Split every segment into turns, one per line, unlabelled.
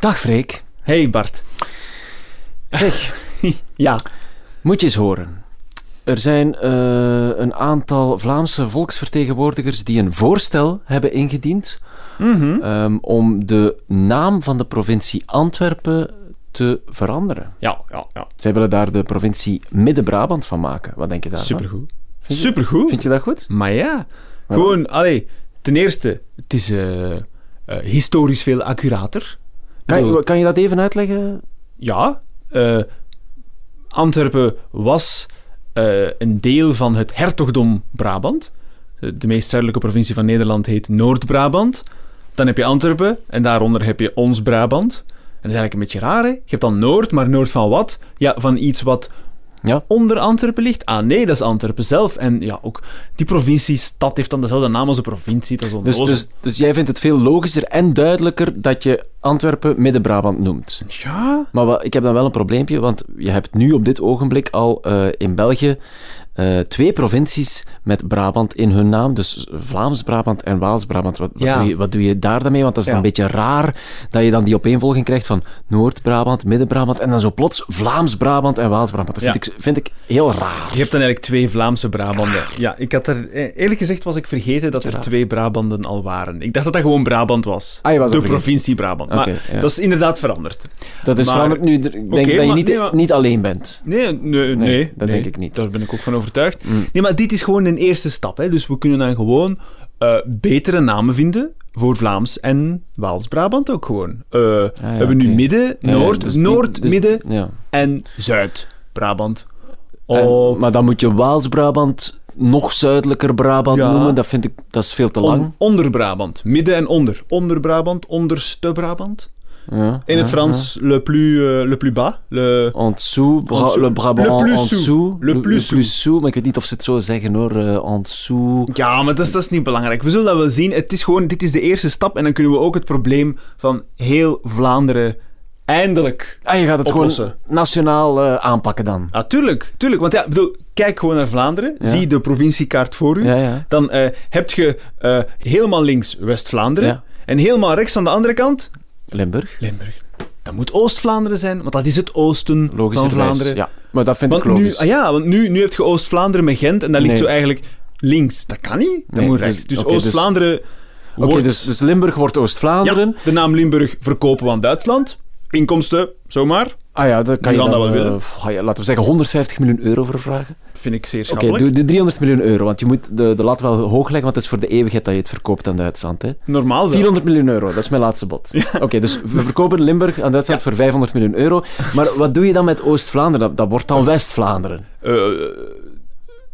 Dag Freek.
Hey Bart.
Zeg,
Ja.
moet je eens horen. Er zijn eh, een aantal Vlaamse volksvertegenwoordigers die een voorstel hebben ingediend ehm, om de naam van de provincie Antwerpen te veranderen.
Ja, ja, ja.
Zij willen daar de provincie Midden-Brabant van maken. Wat denk je daarvan?
Supergoed.
Vind je-
Supergoed.
Vind je dat goed?
Maar ja, gewoon, allee, ten eerste, het is eh, eh, historisch veel accurater.
Kan,
Bedoel-
je- kan je dat even uitleggen?
Ja, eh, Antwerpen was eh, een deel van het hertogdom Brabant. De, de meest zuidelijke provincie van Nederland heet Noord-Brabant. Dan heb je Antwerpen en daaronder heb je ons Brabant. En dat is eigenlijk een beetje raar, hè? Je hebt dan Noord, maar Noord van wat? Ja, van iets wat
Ja.
onder Antwerpen ligt. Ah nee, dat is Antwerpen zelf. En ja, ook die provinciestad heeft dan dezelfde naam als de provincie. Dat is
Dus,
onnozel.
dus, dus jij vindt het veel logischer en duidelijker dat je Antwerpen Midden-Brabant noemt?
Ja,
Maar wel- ik heb dan wel een probleempje, want je hebt nu op dit ogenblik al eh, in België eh, twee provincies met Brabant in hun naam. Dus Vlaams-Brabant en Waals-Brabant. Wat, wat
Ja.
doe je, wat doe je daar dan mee? Want dat is dan
Ja.
een beetje raar dat je dan die opeenvolging krijgt van Noord-Brabant, Midden-Brabant en dan zo plots Vlaams-Brabant en Waals-Brabant. Dat vind,
Ja.
ik, vind ik heel raar.
Je hebt dan eigenlijk twee Vlaamse Brabanden. Ja, ik had er... eh, Eerlijk gezegd was ik vergeten dat er
Ah. Ja.
twee Brabanden al waren. Ik dacht dat dat gewoon Brabant was.
Ah, je was
de
dat vergeten.
provincie Brabant.
Oké,
maar
ja.
dat is inderdaad veranderd.
Dat is
Maar-
veranderd nu. d- Ik denk
Oké,
dat je
maar-
niet,
nee, maar-
niet alleen bent.
Nee, nee, nee.
dat
nee.
denk ik niet.
Daar ben ik ook van overtuigd.
Mm.
Nee, maar dit is gewoon een eerste stap. Hè. Dus we kunnen dan gewoon eh, betere namen vinden voor Vlaams en Waals-Brabant ook gewoon. Eh, we hebben nu
Ah, oké.
midden,
Ja, ja,
noord,
dus die-
noord,
dus-
midden
Ja.
en zuid-Brabant.
En-
Of
maar dan moet je Waals-Brabant nog zuidelijker Brabant
Ja.
noemen. Dat vind ik dat is veel te lang.
On- onder Brabant. Midden en onder. Onder Brabant, onderste Brabant.
Ja,
In
ja,
het Frans, le plus, eh, le plus bas. Le...
ja. En dessous, bra-
En dessous.
le Brabant
Le plus
en dessous.
sous. Le plus
sous, Maar ik weet niet of ze het zo zeggen hoor. eh, En dessous.
Ja, maar dat is, dat is niet belangrijk. We zullen dat wel zien. Het is gewoon, dit is de eerste stap. En dan kunnen we ook het probleem van heel Vlaanderen eindelijk...
Ah, je gaat het
Oplossen.
gewoon nationaal eh, aanpakken dan.
Ah, tuurlijk. tuurlijk. Want ja, ik bedoel, kijk gewoon naar Vlaanderen.
Ja.
Zie de provinciekaart voor u.
Ja, ja.
Dan eh, heb je eh, helemaal links West-Vlaanderen.
Ja.
En helemaal rechts aan de andere kant
Limburg.
Limburg. Dat moet Oost-Vlaanderen zijn, want dat is het oosten van
Logischerwijs.
Vlaanderen.
Ja, maar dat vind
Want
ik
nu,
logisch.
ah ja, want nu, nu heb je Oost-Vlaanderen met Gent en dat ligt
Nee.
zo eigenlijk links. Dat kan niet. Dat
Nee,
moet
dus-
rechts. Dus
oké, dus-
Oost-Vlaanderen
Oké,
wordt...
dus, dus Limburg wordt
Ja,
Oost-Vlaanderen.
de naam Limburg verkopen we aan Duitsland. Inkomsten, zomaar.
Ah ja, daar kan
Die
je
gaan
dan,
dat wel
eh,
willen.
pff, ga je- laten we zeggen, 150 miljoen euro voor vragen.
Vind ik zeer
Oké,
schappelijk.
doe de 300 miljoen euro, want je moet de, de lat wel hoog leggen, want het is voor de eeuwigheid dat je het verkoopt aan Duitsland. Hè?
Normaal wel.
400 miljoen euro, dat is mijn laatste bod. Oké, dus we verkopen Limburg aan Duitsland voor 500 miljoen euro. Maar wat doe je dan met Oost-Vlaanderen? Dat, dat wordt dan West-Vlaanderen.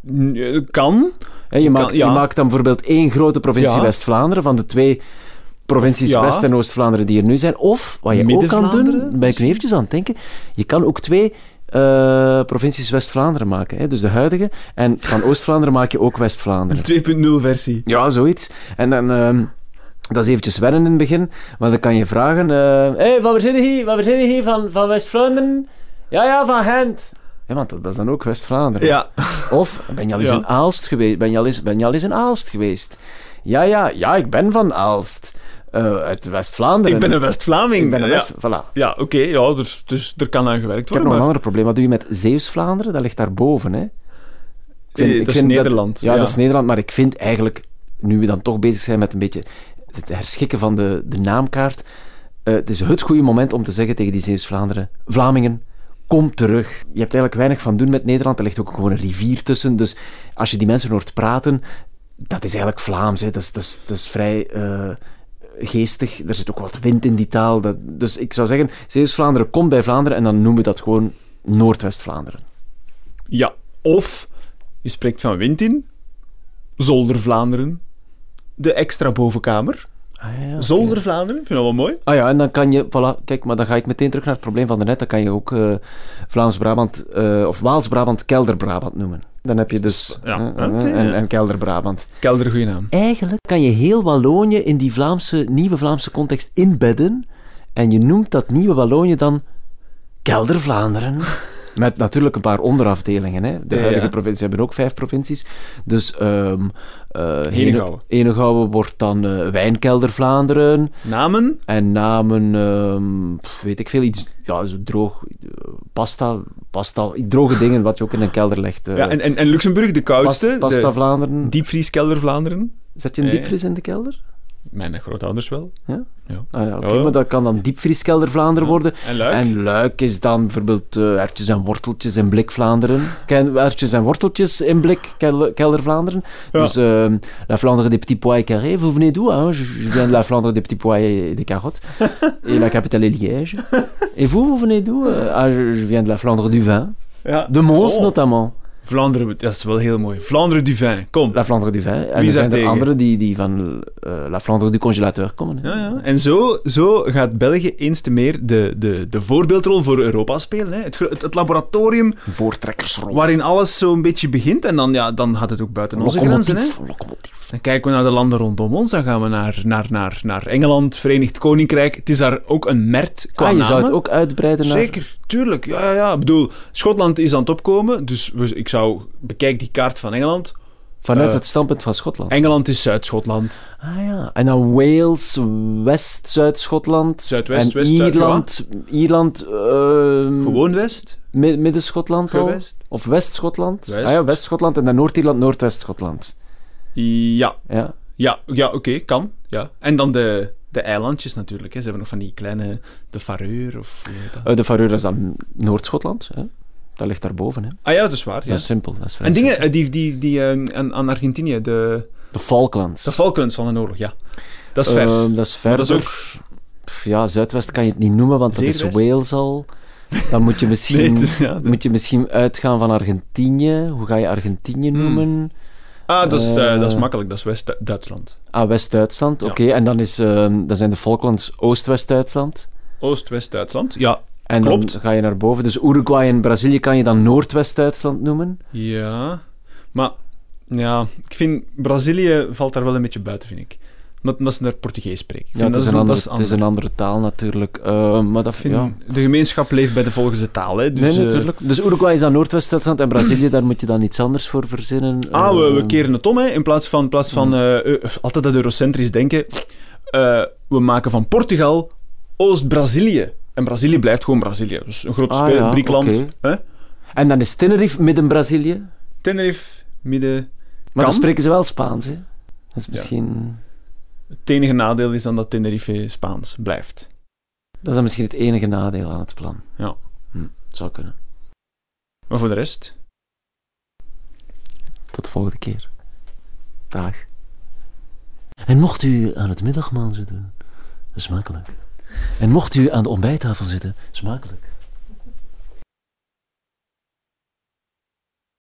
Eh, eh, kan.
Hè, Je,
Kan-
maakt,
ja.
je maakt dan bijvoorbeeld één grote provincie
Ja.
West-Vlaanderen van de twee provincies
Ja.
West- en Oost-Vlaanderen die er nu zijn. Of, wat je ook kan doen,
Midden-Vlaanderen
daar ben ik nu eventjes aan het denken, je kan ook twee eh, provincies West-Vlaanderen maken. Hè? Dus de huidige. En van Oost-Vlaanderen maak je ook West-Vlaanderen.
2.0 versie.
Ja, zoiets. En dan... ehm, dat is eventjes wennen in het begin, maar dan kan je vragen... eh hey, van waar zit je hier? Van waar zit je hier? Van, van West-Vlaanderen? Ja, ja, van Gent. Ja, want dat, dat is dan ook West-Vlaanderen.
Ja.
Of, ben je al eens
Ja.
in Aalst geweest? Ben je, al eens, ben je al eens in Aalst geweest? Ja, ja, ja, ik ben van Aalst. Eh, uit West-Vlaanderen.
Ik ben een West-Vlaming.
Ik ben een
Ja.
West... Voilà.
Ja, oké. ja, dus, dus er kan aan gewerkt
Ik heb
worden.
nog een
maar-
ander probleem. Wat doe je met Zeeuws-Vlaanderen? Dat ligt daarboven, hè? Ik
Eh, dat is Nederland,
ja,
ja.
dat is Nederland. Maar ik vind eigenlijk, nu we dan toch bezig zijn met een beetje het herschikken van de, de naamkaart, eh, het is het goede moment om te zeggen tegen die Zeeuws-Vlaanderen, Vlamingen, kom terug. Je hebt eigenlijk weinig van doen met Nederland. Er ligt ook gewoon een rivier tussen. Dus als je die mensen hoort praten, dat is eigenlijk Vlaams. Hè. Dat, is, dat, is, dat is vrij... eh, Geestig, er zit ook wat wind in die taal. Dat, dus ik zou zeggen, Zeeuws-Vlaanderen komt bij Vlaanderen en dan noemen we dat gewoon Noordwest-Vlaanderen.
Ja, of je spreekt van wind in, Zolder-Vlaanderen, de extra bovenkamer.
Ah ja,
Zolder-Vlaanderen, vind ik dat wel mooi.
Ah ja, en dan kan je, voilà, kijk, maar dan ga ik meteen terug naar het probleem van daarnet. Dan kan je ook eh, Vlaams-Brabant, eh, of Waals-Brabant, Kelder-Brabant noemen. Dan heb je dus
Ja,
eh,
hè,
eh,
zie je.
en, en Kelder-Brabant.
Kelder, goede naam.
Eigenlijk kan je heel Wallonië in die Vlaamse, nieuwe Vlaamse context inbedden. En je noemt dat nieuwe Wallonië dan Kelder-Vlaanderen. Met natuurlijk een paar onderafdelingen. Hè. De
Ja,
huidige
ja.
provincies hebben ook vijf provincies. Dus ehm eh,
Henegouwen.
Henegouwen wordt dan eh, Wijnkelder Vlaanderen.
Namen?
En namen, ehm, pff, weet ik veel, iets ja, zo droog, eh, pasta, pasta, droge dingen wat je ook in een kelder legt. eh.
ja, en, en, en Luxemburg, de
Pas-
koudste.
pasta
de
Vlaanderen.
diepvrieskelder Vlaanderen.
Zet je een
Eh.
diepvries in de kelder?
Mijn grootouders wel.
Ah ja, oké,
Ja, ja.
maar dat kan dan diepvrieskelder Vlaanderen worden.
En Luik.
En Luik is dan bijvoorbeeld eh, erwtjes en worteltjes in blik Vlaanderen. Ken, erwtjes en worteltjes in blik kel- kelder Vlaanderen.
Ja.
Dus ehm, la Flandre des petits pois et carrés, vous venez d'où? Hein? Je, je viens de la Flandre des petits pois et des carottes. et la capitale est Liège. Et vous, vous venez d'où? Eh, ah, je, je viens de la Flandre du vin.
ja.
De Mons,
Oh.
notamment.
Vlaanderen, dat is wel heel mooi. Vlaanderen du vin, kom.
La Flandre du vin. En
Wie
er
is daar
zijn er
tegen?
anderen die, die van eh, la Flandre du congélateur komen. hè.
Ja, ja. En zo, zo gaat België eens te meer de, de, de voorbeeldrol voor Europa spelen. Hè. Het, gro- het, het laboratorium
Voortrekkersrol.
waarin alles zo'n beetje begint. En dan, ja, dan gaat het ook buiten onze grenzen. Hè.
Locomotief. Locomotief.
Dan kijken we naar de landen rondom ons. Dan gaan we naar, naar, naar, naar Engeland, Verenigd Koninkrijk. Het is daar ook een mert qua
Ah, je zou
namen.
het ook uitbreiden naar...
Zeker, tuurlijk. Ja, ja, ja. Ik bedoel, Schotland is aan het opkomen. Dus we- ik zou... Bekijk die kaart van Engeland.
Vanuit
Eh,
het standpunt van Schotland.
Engeland is Zuid-Schotland.
Ah ja. En dan Wales, West, Zuid-Schotland.
Zuidwest,
en
West, Zuid-
Ierland, Ierland, ehm,
Gewoon West.
Mi- Midden-Schotland al.
Gewest.
Of West-Schotland.
West.
Ah ja, West-Schotland en dan Noord-Ierland, Noordwest-Schotland.
Ja,
Ja.
ja, ja oké, kan. Ja. En dan de, de eilandjes natuurlijk. Hè. Ze hebben nog van die kleine... De Fareur of... hoe heet dat?
Eh, de Faroe is dan Noord-Schotland. Hè? Dat ligt daarboven. Hè?
Ah ja, dat is waar. Ja.
Dat is simpel. Dat is vrij
en dingen
simpel.
eh, die, die, die eh, aan, aan Argentinië, de,
De Falklands.
de Falklands van de oorlog, ja. Dat is ver.
Ehm, dat is
Maar
verder.
dat is ook...
Pff, Ja, Zuidwest kan je het niet noemen, want dat
Zeer
is
west.
Wales al. Dan moet je
Nee,
misschien,
het is- ja, dat-
moet je misschien uitgaan van Argentinië. Hoe ga je Argentinië
Hmm.
noemen?
ah, dat is, eh,
eh,
dat is makkelijk. Dat is West-Duitsland.
Ah, West-Duitsland,
Ja.
oké. En dan, is, ehm, dan zijn de Falklands Oost-West-Duitsland.
Oost-West-Duitsland. Ja.
En
Klopt.
dan ga je naar boven. Dus Uruguay en Brazilië kan je dan Noordwest-Duitsland noemen.
Ja. Maar, ja, ik vind... Brazilië valt daar wel een beetje buiten, vind ik. Omdat, omdat ze daar Portugees spreken. Ik
Ja,
vind
het, is een
dat
andere,
dat
het is een andere taal natuurlijk. Eh, maar dat
Ik vind,
vind ik. Ja.
De gemeenschap leeft bij de volgende taal, hè. Dus,
nee,
eh,
natuurlijk. Dus Uruguay is dan Noordwest-Duitsland en Brazilië, daar moet je dan iets anders voor verzinnen.
Ah, we, we
Eh,
keren het om, hè. In plaats van, in plaats van eh, eh, altijd dat eurocentrisch denken. eh, we maken van Portugal Oost-Brazilië. En Brazilië blijft gewoon Brazilië. Dus een grote
Ah,
speler,
ja,
Briekland.
oké.
hè.
En dan is Tenerife midden-Brazilië. Maar
Tenerife, midden...
dan
Kan.
spreken ze wel Spaans, hè? Dat is misschien...
Het enige nadeel is dan dat Tenerife Spaans blijft.
Dat is dan misschien het enige nadeel aan het plan.
Ja.
Hm, zou kunnen.
Maar voor de rest...
Tot de volgende keer. Dag. En mocht u aan het middagmaal zitten, smakelijk. En mocht u aan de ontbijttafel zitten, smakelijk.